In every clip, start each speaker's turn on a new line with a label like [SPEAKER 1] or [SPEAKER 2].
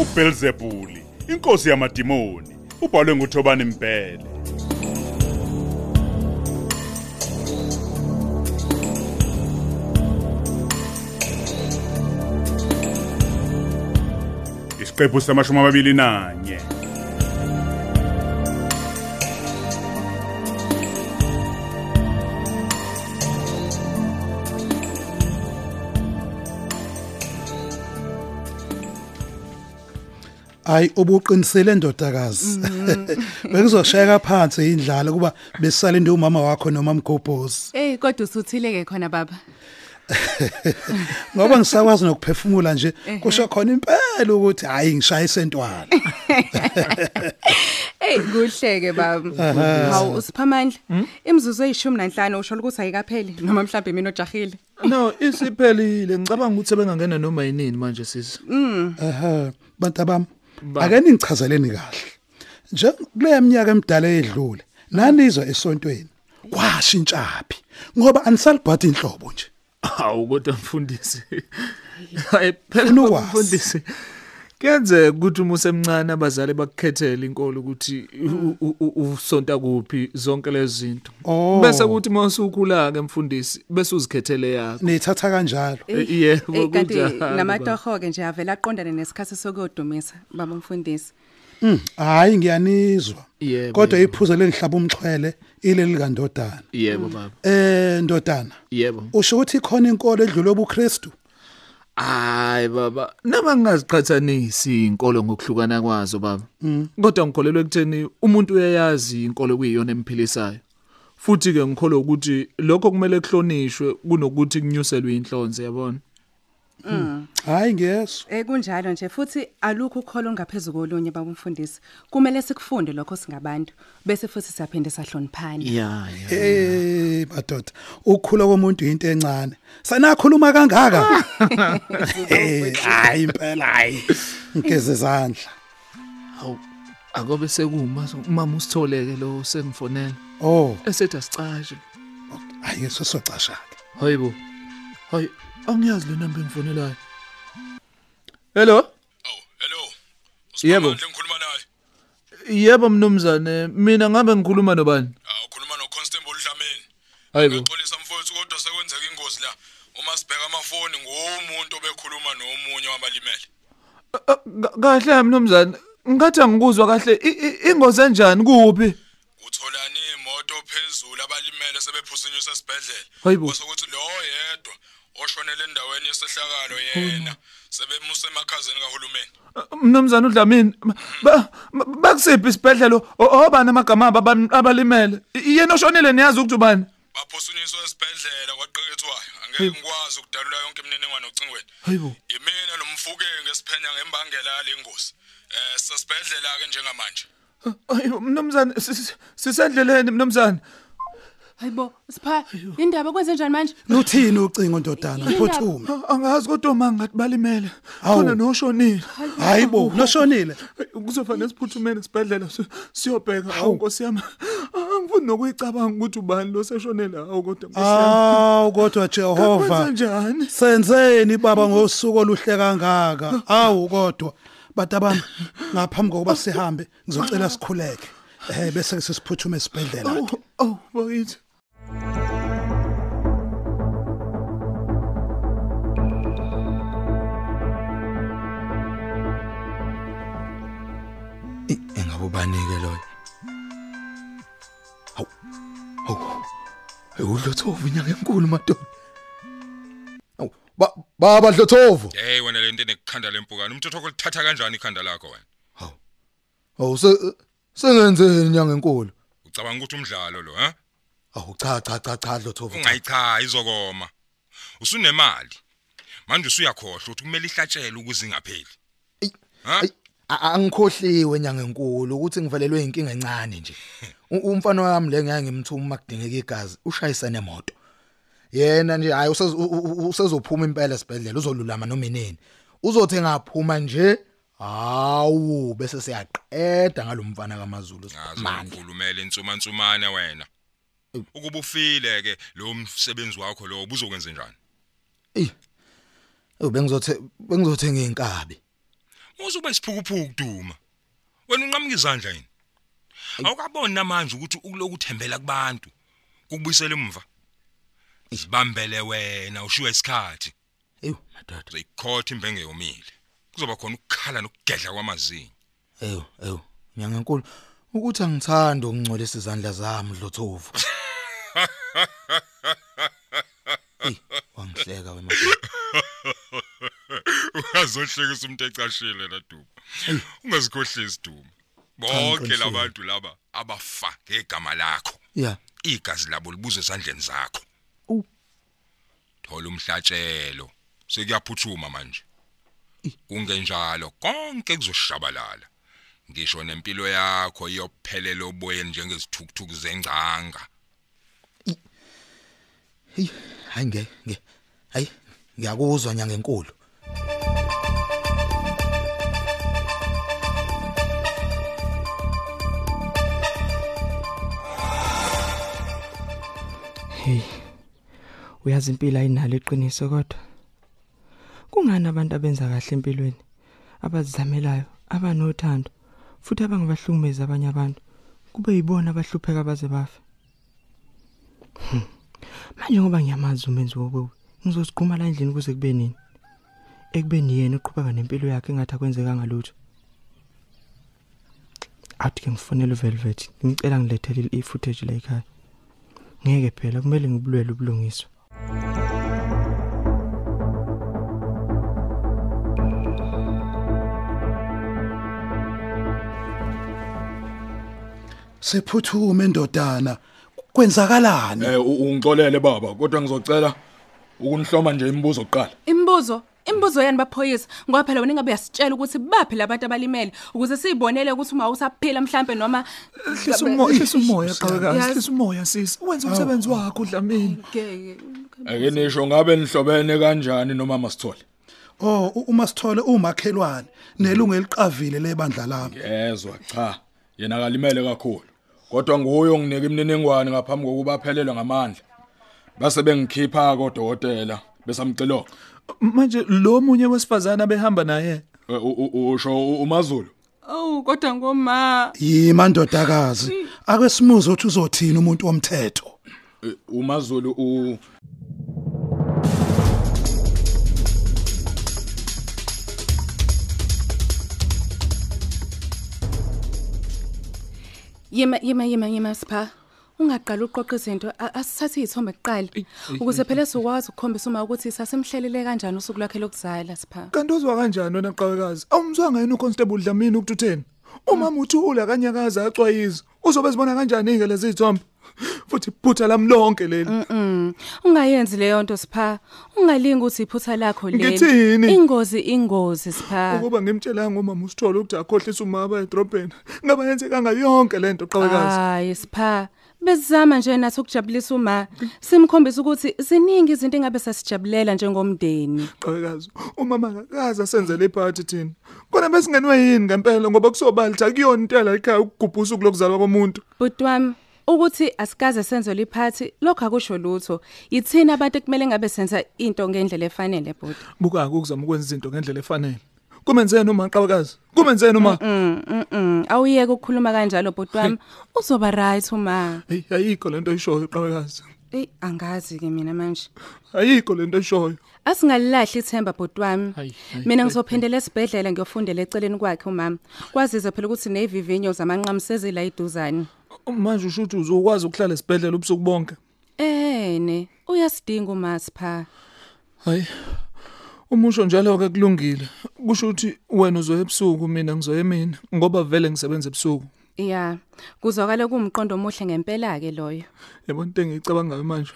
[SPEAKER 1] uBelzebuli, inkosi yamadimoni, ubhalwe nguThobani Mbhele. Isiqephu samashumi amabili nanye.
[SPEAKER 2] Ayi ubuqinisele ndodakazi.
[SPEAKER 3] Mm-hmm.
[SPEAKER 2] Bekuzoshayeka phansi indlala kuba besale ndi umama wakho noma mgobhozi.
[SPEAKER 4] Ey kodwa usuthileke khona baba.
[SPEAKER 2] Ngoba ngisakwazi nokuphefumula nje kusho khona impela ukuthi hayi ngishayise intwana.
[SPEAKER 4] Ey kuhleke baba. Hawu usiphamandla.
[SPEAKER 3] Hmm?
[SPEAKER 4] Imizuzu eyishumi nanhlanu usho ukuthi ayikapheli noma mhlambe mina ojahile.
[SPEAKER 3] No, isiphelile. Ngicabanga ukuthi bengangena noma yinini manje sisi.
[SPEAKER 2] Aha, bantu bami. Ake ningichazeleni kahle. Nje kule minyaka emidala edlule, nanizwa esontweni. Kwashintshapi ngoba anisalibhathi inhlobo nje.
[SPEAKER 3] Hawu kodwa mfundisi. Hayi phela
[SPEAKER 2] Ufuna ukwazi?
[SPEAKER 3] mfundisi. Kenze ukuthi uma usemncane abazali bakukhethele inkolo ukuthi u- u- u- usonta kuphi zonke lezi zinto.
[SPEAKER 2] Oh.
[SPEAKER 3] Bese kuthi mawusukhula ke mfundisi bese uzikhethele yakho.
[SPEAKER 2] Nithatha kanjalo.
[SPEAKER 3] Eh, yebo,
[SPEAKER 4] Ey kanti
[SPEAKER 3] kunjalo, baba.
[SPEAKER 4] namatoho ke nje avela aqondane nesikhathi sokudumisa baba mfundisi.
[SPEAKER 2] Mm, hayi ngiyanizwa.
[SPEAKER 3] Yebo,
[SPEAKER 2] Kodwa
[SPEAKER 3] yebo.
[SPEAKER 2] iphuzo lengihlaba umxhwele ile likandodana.
[SPEAKER 3] Yebo baba.
[SPEAKER 2] Eh ndodana,
[SPEAKER 3] Yebo.
[SPEAKER 2] usho ukuthi khona inkolo edlule ubuKristu?
[SPEAKER 3] Hayi baba, noma ngingaziqhathanisi inkolo ngokuhlukana kwazo baba. Kodwa ngikholelwa ekutheni umuntu uyayazi inkolo kuyiyona emphilisayo. Futhi ke ngikholwa ukuthi lokho kumele kuhlonishwe kunokuthi kunyuselwe inhlonze yabona.
[SPEAKER 2] Hayi ngeso.
[SPEAKER 4] Eh kunjalo nje futhi alukho ukholo ngaphezulu kolunye baba mfundisi. Kumele sikufunde lokho singabantu bese futhi siyaphinde sahloniphana.
[SPEAKER 3] Yeah, yeah.
[SPEAKER 2] Eh madoda, ukukhula komuntu into encane. Sanakhuluma kangaka. Eh, Hayi impela hayi. Ngeze izandla.
[SPEAKER 3] Hawu, akobe sekuma mama usitholeke lo sengifonela.
[SPEAKER 2] Oh,
[SPEAKER 3] Esethu asicashe.
[SPEAKER 2] hayi ngeso socasha.
[SPEAKER 3] Hayibo. Hayi, angiyazi le number engifonelayo. Hello?
[SPEAKER 5] Oh, hello.
[SPEAKER 3] Yebo.
[SPEAKER 5] Usiphamandla ngikhuluma naye.
[SPEAKER 3] Yebo mnumzane, mina ngabe ngikhuluma nobani?
[SPEAKER 5] Ah, ukhuluma noConstable Dlamini.
[SPEAKER 3] Hayibo.
[SPEAKER 5] Ngixolisa mfowethu kodwa sekwenzeka ingozi la. Uma sibheka amafoni ngomuntu obekhuluma nomunye wabalimele.
[SPEAKER 3] Ah, ka- kahle mnumzane ngathi angikuzwa kahle I- i- ingozi enjani kuphi
[SPEAKER 5] Utholani imoto phezulu abalimele sebephusinyiswa esibhedlela.
[SPEAKER 3] Hayibo.
[SPEAKER 5] Sokuthi lo yedwa oshonele endaweni yesehlakalo yena sebemuse emakhazeni kahulumeni.
[SPEAKER 3] Ah, mnumzane udlamini ma- ba- ma- bakusiphi isibhedlela O- obani amagama abo aban- abalimele I- yena oshonile niyazi ukuthi ubani
[SPEAKER 5] Baphusinyiswa esibhedlela kwaqekethwayo. Angeke ngikwazi ukudalula yonke imininingwane ocingweni.
[SPEAKER 3] hayibo
[SPEAKER 5] Yimina nomfuke ngesiphenya ngembangela lengozi. Eh sasibhedlela ke njengamanje.
[SPEAKER 3] Ah, hayibo mnumzane si- si- sisendleleni mnumzane
[SPEAKER 4] Hayibo, sipha indaba kwenze njani manje?
[SPEAKER 2] Luthini ucingo ndodana, ngiphuthume.
[SPEAKER 3] Ah, angazi kodwa uma ngathi balimele
[SPEAKER 2] Hawu.
[SPEAKER 3] khona noshonile
[SPEAKER 2] Hayibo, noshonile.
[SPEAKER 3] kuzofanele siphuthumele esibhedlela si- siyobheka hawu nkosi yami Ah, angifuni nokuyicabanga ukuthi ubani lo seshonele hawu kodwa nkosi yami
[SPEAKER 2] Aw kodwa
[SPEAKER 3] kwenza
[SPEAKER 2] Jehova
[SPEAKER 3] njani
[SPEAKER 2] Senzeni baba ngosuku oluhle kangaka. Awu kodwa batabami ngaphambi kokuba sihambe ngizocela sikhuleke. Eh bese sesiphuthume esibhedlela.
[SPEAKER 3] Oh, oh, bakithi.
[SPEAKER 6] Eh,
[SPEAKER 5] Engabubanike loyo. Haw. Haw. Ehudlothovu inyanga enkulu madodana.
[SPEAKER 6] Awu, ba- Baba Dlothovu,
[SPEAKER 5] Hey wena le nto enekhanda lempukane. Umthotho kolithatha kanjani ikhanda lakho wena?
[SPEAKER 6] awu se- sengenzeni nyanga enkulu?
[SPEAKER 5] Ucabanga ukuthi umdlalo lo, ha?
[SPEAKER 6] Awu cha cha cha cha Dlothovu.
[SPEAKER 5] Ungayicha izokoma. Usunemali. Manje usuyakhohlwa ukuthi kumele ihlatshele ukuze ingapheli.
[SPEAKER 6] Eyi,
[SPEAKER 5] Ha?
[SPEAKER 6] Ayi, a- Angikhohliwe nyanga enkulu ukuthi ngivalelwe inkinga encane nje. U- Umfana wami le ngeke ngimthuma makudingeka igazi, ushayisa nemoto. Yena nje hayi usez- u- u- u- usezophuma impela esibhedlela uzolulama noma inini. Uzothi engaphuma nje hawu bese siyaqeda ngalomfana
[SPEAKER 5] Ngazo
[SPEAKER 6] kaMazulu uSiphamandla.
[SPEAKER 5] ukhulumela insumansumane wena. Ukuba ufile ke lo msebenzi wakho lo ubuzokwenza njani?
[SPEAKER 6] Eh bengizothe bengizothenga inkabi.
[SPEAKER 5] Uzoba isiphukuphuku duma. Wena unqamuka izandla yini? Awukaboni namanje ukuthi ukuloku thembela kubantu kubuyisela emva. Izibambele wena ushiwe isikhathi.
[SPEAKER 6] eyu madoda
[SPEAKER 5] Uzoyikhotha imbenge yomile. Kuzoba khona ukukhala nokugedla kwamazinyo.
[SPEAKER 6] eyu eyu nyanga enkulu ukuthi angithandi ukungcolisa izandla zami dlothovu Eyi, wangihleka wena
[SPEAKER 5] Ungazohlekisa umuntu ecashile la Duma. Ungazikhohlisi Duma. Bonke
[SPEAKER 6] ngiqinisile.
[SPEAKER 5] labantu laba abafa ngegama lakho.
[SPEAKER 6] ya
[SPEAKER 5] Igazi labo libuzwe esandleni zakho.
[SPEAKER 6] U.
[SPEAKER 5] Thola umhlatshelo. Sekuyaphuthuma manje. Kungenjalo konke kuzoshabalala. Ngisho nempilo yakho iyophelela oboyeni njengezithukuthuku zengcanga.
[SPEAKER 6] heyi hayi nge nge hayi ngiyakuzwa nyanga enkulu
[SPEAKER 7] Hey. Uyazi impilo ayinalo iqiniso kodwa. Kungani abantu abenza kahle empilweni, abazizamelayo, abanothando, futhi abangabahlukumezi abanye abantu, kube yibona abahlupheka baze bafe. Hmm. Manje ngoba ngiyamazi umenzi wobubi, ngizosigquma la endlini kuze kube nini? Ekubeni yena uqhubeka nempilo yakhe engathi akwenzekanga lutho. Athi ke ngifonela uVelvet, ngimcela ngilethele i-footage la ekhaya. ngeke phela kumele ngibulwele ubulungiswa
[SPEAKER 2] Sephuthuma endodana. Kwenzakalani?
[SPEAKER 8] Eh u- ungixolele baba kodwa ngizocela ukunihloma nje imibuzo oqala.
[SPEAKER 4] Imbuzo, imbuzo yani baphoyisa ngoba phela wena ngabe uyasitshela ukuthi baphi labantu abalimele ukuze siyibonele ukuthi uma usaphila mhlambe noma
[SPEAKER 3] Hlisa umoya, hlisa umoya
[SPEAKER 4] Yazi-
[SPEAKER 3] qhawekazi, hlisa umoya sisi. Wenza umsebenzi wakho Dlamini.
[SPEAKER 4] ngeke.
[SPEAKER 8] Ake nisho ngabe nihlobene kanjani noma masithole.
[SPEAKER 2] Oh, u- uma sithole umakhelwane nelungu eliqavile lebandla lami.
[SPEAKER 8] Yezwa cha. Yena akalimele kakhulu. Kodwa nguye onginika imniningwane ngaphambi kokuba aphelelwe ngamandla. Base bengikhipha kodokotela besamxilonga.
[SPEAKER 3] Manje lo munye wesifazana behamba naye.
[SPEAKER 8] Eh, u- u- Usho u- uMazulu.
[SPEAKER 4] Oh, kodwa ngoma.
[SPEAKER 2] Yima ndodakazi. Akwesimuzwa ukuthi uzothina umuntu womthetho.
[SPEAKER 8] Eh, uMazulu u
[SPEAKER 4] Yema yema yema yema sipha. Ungaqala uqoqa izinto a- asithathe izithombe kuqala ukuze phela sizokwazi ukukhombisa uma ukuthi sasemhlelele kanjani usuku lwakhe lokuzala sipha.
[SPEAKER 3] Kanti uzwa kanjani wena qhawekazi? Awumzwanga yena uConstable Dlamini ukuthutheni? Umama uthula kanyakaza acwayiza. Uzobe zibona kanjani ke lezi zithombe? Futhi iphutha lamlonke leli.
[SPEAKER 4] Hmm, Ungayenzi leyo nto sipha. Ungalingi ukuthi iphutha lakho leli.
[SPEAKER 3] Ngithini?
[SPEAKER 4] Ingozi ingozi sipha.
[SPEAKER 3] Ukuba ngimtshelanga umama usithole ukuthi akhohlisa umama edrobheni. Ngaba yenzekanga yonke lento qhawekazi.
[SPEAKER 4] Hayi sipha. Bezama nje nathi ukujabulisa uma simkhombisa ukuthi ziningi izinto engabe sasijabulela njengomndeni.
[SPEAKER 3] Qhawekazi, umama akakaza senzele iphathi thina. Kona besingenwe yini ngempela ngoba kusobali akuyona intela ekhaya ukugubhusa ukulokuzalwa komuntu.
[SPEAKER 4] Bhuti wami, ukuthi asikaze senze liphathi lokho akusho lutho. Yithina abantu ekumele ngabe senza into ngendlela efanele bhuti.
[SPEAKER 3] Buka ukuzama ukwenza izinto ngendlela efanele. Kumenzeni uma qhawekazi? Kumenzeni uma?
[SPEAKER 4] Mm, mm, mm. Awuyeke ukukhuluma kanjalo bhuti wami. Uzoba right uma.
[SPEAKER 3] Hey, ayikho lento oyishoyo qhawekazi.
[SPEAKER 4] Ey angazi ke mina manje.
[SPEAKER 3] Ayikho lento eshoyo.
[SPEAKER 4] Asingalilahli ithemba bhuti wami.
[SPEAKER 3] Hayi, hayi,
[SPEAKER 4] Mina
[SPEAKER 3] hayi,
[SPEAKER 4] ngizophendela esibhedlela ngiyofundela eceleni kwakhe umama. Kwazize phela ukuthi nevivinyo zamanqamu sezila iduzane.
[SPEAKER 3] Manje usho ukuthi uzokwazi ukuhlala esibhedlela ubusuku bonke.
[SPEAKER 4] Ene, uyasidinga umasipha.
[SPEAKER 3] Hayi. Umusho njalo ke kulungile. Kusho ukuthi wena uzoya ebusuku mina ngizoya emini ngoba vele ngisebenza ebusuku.
[SPEAKER 4] Ya, kuzwakala kuumqondo omuhle ngempela ke loyo.
[SPEAKER 3] Yabona into engiyicabangayo manje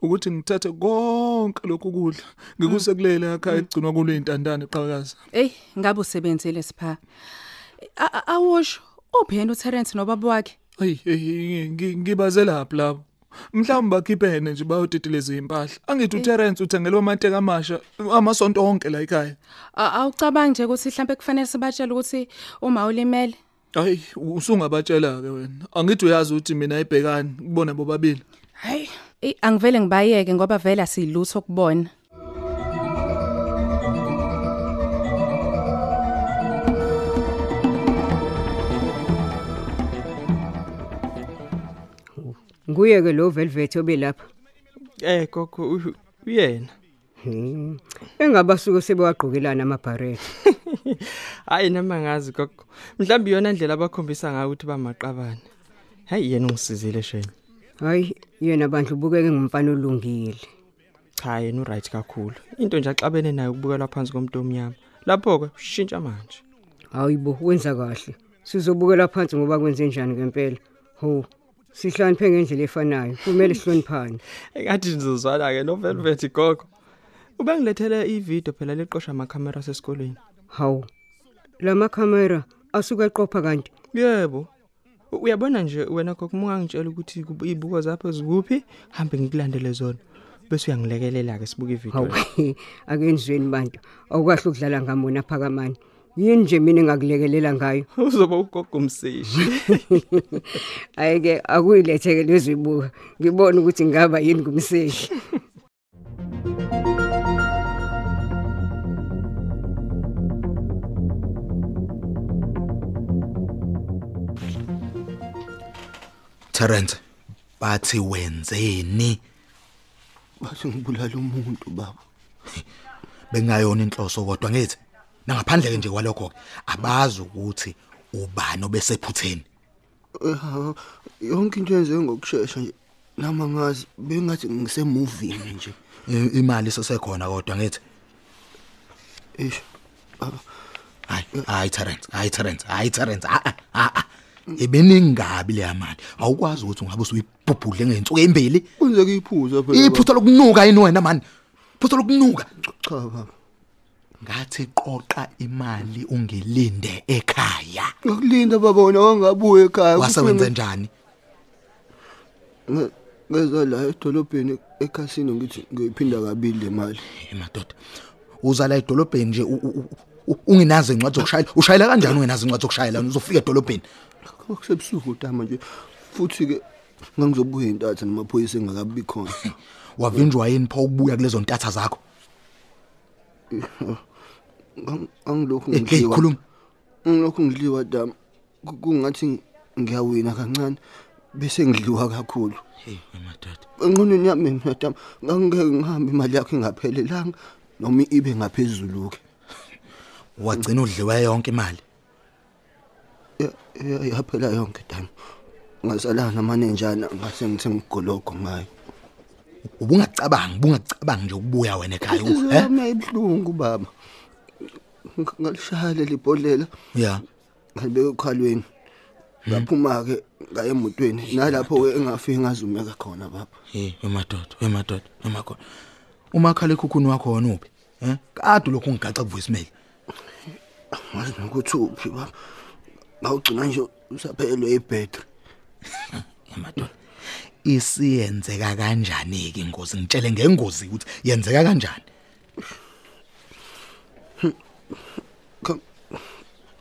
[SPEAKER 3] ukuthi ngithathe konke lokhu kudla ngikuse kulele ekhaya egcinwa kulo intandane qhakaza.
[SPEAKER 4] Ey, ngabe usebenzile sipha. A- a- Awosho, uphi yena uTerence nobaba wakhe?
[SPEAKER 3] Hey, hey, ngi- ngibazela lapha lapho. Mhlawumbe bakhiphene nje bayodidileza impahla. Angithi uTerence uthengelwe amanteka amasha amasonto onke la ekhaya.
[SPEAKER 4] A- Awucabangi nje ukuthi mhlambe kufanele sibatshele ukuthi uma ulimele
[SPEAKER 3] Hayi usungabatshela ke wena. Angithi uyazi ukuthi mina ibhekani kubona bobabili.
[SPEAKER 4] Hayi, eh, angivele ngibayeke ngoba vele asilutho kubona.
[SPEAKER 9] Nguye ke lo Velvet obelapha.
[SPEAKER 7] Eh gogo u- uyena.
[SPEAKER 9] Hmm. Engaba suku sebewagqokelana amabharet.
[SPEAKER 7] Hayi noma ngazi gogo. Mhlawumbe iyona ndlela abakhombisa ngayo ukuthi bamaqabane. Hayi yena ungisizile shame.
[SPEAKER 9] Hayi, yena bandla ubukeke ngumfana olungile.
[SPEAKER 7] Cha yena u right kakhulu. Into nje axabene nayo ukubukelwa phansi komuntu omnyama. Lapho ke ushintsha manje.
[SPEAKER 9] Hayibo, wenza kahle. Sizobukela phansi ngoba kwenze njani ngempela. Ho, sihloniphe ngendlela efanayo. Kumele sihloniphane.
[SPEAKER 7] Engathi nizozwana ke no Velvet gogo. Ubengilethele ivideo phela leqosha amakhamera sesikolweni.
[SPEAKER 9] Hawu. Lama camera asuka eqopha kanti.
[SPEAKER 7] Yebo. U- Uyabona nje wena gogo mungangitshela ukuthi kub- izibuko zapho zikuphi, hambe ngikulandele zona. Bese uyangilekelela ke sibuke ivideo.
[SPEAKER 9] Hawu, akenzweni bantu. Awukahle ukudlala ngamona phakamani. Yini nje mina engakulekelela ngayo?
[SPEAKER 7] Uzoba ugogo umseshi.
[SPEAKER 9] Ayike akuyiletheke lezibuka. Ngibona ukuthi ngaba yini kumseshi.
[SPEAKER 6] Terence bathi wenzeni?
[SPEAKER 10] bathi ngibulala umuntu baba
[SPEAKER 6] Bengayona inhloso kodwa ngithi nangaphandle ke nje kwalokho ke abazi ukuthi ubani obesephutheni.
[SPEAKER 10] Eh, yonke into yenze ngokusheshsha nje nama ngazi bengathi ngisemovini nje
[SPEAKER 6] I- Imali sesekhona kodwa ngithi
[SPEAKER 10] eish baba
[SPEAKER 6] hayi hayi Terence hayi Terence hayi Terence a a ebeningabi le mali awukwazi ukuthi ungabe usuyibhubhudle ngeinsuku ezimbili
[SPEAKER 10] kunze kuyiphuza phela baba.
[SPEAKER 6] iphutha lokunuka yini wena mani phutha lokunuka
[SPEAKER 10] cha baba
[SPEAKER 6] ngathi qoqa imali ungilinde ekhaya
[SPEAKER 10] ngiyakulinda baba wena wangabuye ekhaya
[SPEAKER 6] wase
[SPEAKER 10] Kuthi
[SPEAKER 6] wenze
[SPEAKER 10] nge-
[SPEAKER 6] njani
[SPEAKER 10] nge- ngeza la edolobheni ekhasino ngithi ngiyoyiphinda kabili le mali
[SPEAKER 6] emadoda uza la edolobheni nje u- u- u- ungenazo incwadi zokushayela ushayela kanjani ungenazo incwadi zokushayela uzofika edolobheni
[SPEAKER 10] Kho kusebusuku utama nje futhi ke ngangizobuya intatha namaphoyisa engakabi khona
[SPEAKER 6] wavinjwa yini pho ubuya kulezo ntatha zakho
[SPEAKER 10] Ngang- angilokhu
[SPEAKER 6] Eh, hey
[SPEAKER 10] ngidliwa
[SPEAKER 6] khuluma
[SPEAKER 10] ngilokhu ngidliwa dama Ku- kungathi ngiyawina kancane bese ngidliwa kakhulu
[SPEAKER 6] hey emadoda
[SPEAKER 10] enqonweni yami mina dama ngangeke ngihambe imali yakho ingaphelelanga noma ibe ngaphezulu ke
[SPEAKER 6] wagcina udliwa yonke imali
[SPEAKER 10] Ya- ya- yaphela yonke dama ngasalana namanenjana ngase ngithe ngigologo ngayo
[SPEAKER 6] ubungacabangi bungacabangi nje ukubuya wena ekhaya u- eh
[SPEAKER 10] yami ayibuhlungu baba Ng- ngalishaya leli bhodlela
[SPEAKER 6] ya
[SPEAKER 10] ngibeke ekhalweni ngaphuma ke ngaye emotweni nalapho ke engafiki ngazumeka khona baba
[SPEAKER 6] hey emadoda emadoda emakhona umakhala ekhukhuni wakho wona uphi eh kade lokhu ngigaxa kuvoicemail
[SPEAKER 10] ngazi nokuthi uphi baba ngawugcina nje usaphelelwe ibhetri
[SPEAKER 6] emadoda isiyenzeka kanjani ke ingozi ngitshele ngengozi ukuthi yenzeka kanjani
[SPEAKER 10] Hmm. Kha-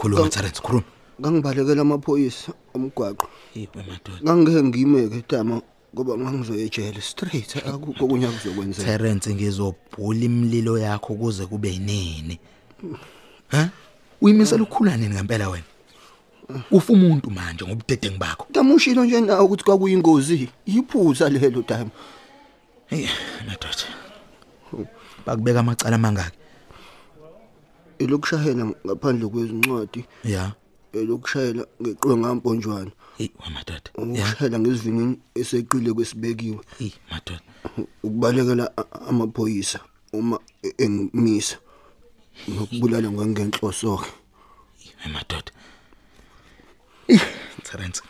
[SPEAKER 6] khuluma
[SPEAKER 10] Ka-
[SPEAKER 6] Terence khuluma
[SPEAKER 10] ngangibalekela amaphoyisa omgwaqo
[SPEAKER 6] yebo emadoda
[SPEAKER 10] ngangeke ngiyimeke dama ngoba ngangizoya ejele straight akukho kunye akuzokwenzeka
[SPEAKER 6] Terence ngizobhula imlilo yakho kuze kube yinini ha uyimisela ukukhula nini ngempela wena ufa umuntu manje ngobudedengu bakho
[SPEAKER 10] dama ushilo nje nawe ukuthi kwakuyingozi yiphuza lelo dama
[SPEAKER 6] hey emadoda bakubeka amacala mangaki
[SPEAKER 10] elokushayela ngaphandle kwezincwadi
[SPEAKER 6] ya
[SPEAKER 10] elokushayela ngeqwe ngamponjwana
[SPEAKER 6] hey wamadoda ya
[SPEAKER 10] ukushayela ngesivinini eseqile kwesibekiwe
[SPEAKER 6] hey madoda
[SPEAKER 10] ukubalekela a- a- amaphoyisa uma e- engimisa nokubulala ngangenhloso ke
[SPEAKER 6] emadoda Terence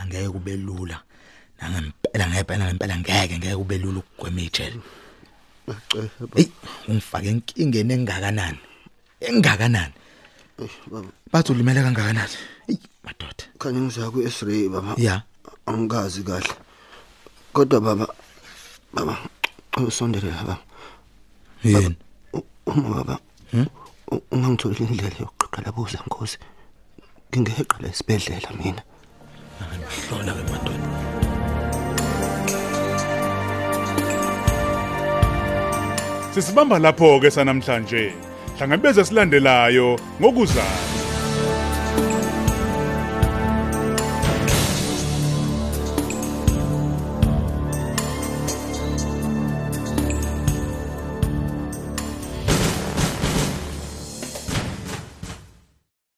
[SPEAKER 6] angeke kube lula nangempela ngempela ngempela ngeke ngeke kube lula ukugwema ijele hey ungifake inkingeni engakanani engakanani bathi ulimele kangakanani hey madoda
[SPEAKER 10] khanye ngiza ku X-ray baba
[SPEAKER 6] ya
[SPEAKER 10] angikazi kahle kodwa baba baba usondele baba
[SPEAKER 6] yini
[SPEAKER 10] U- uma baba u- ungangitholile indlela yokuqala buza nkosi ngingeqala isibedlela mina
[SPEAKER 6] hlola ke madoda
[SPEAKER 1] sisibamba lapho-ke sanamhlanje hlangabeze silandelayo ngokuzayo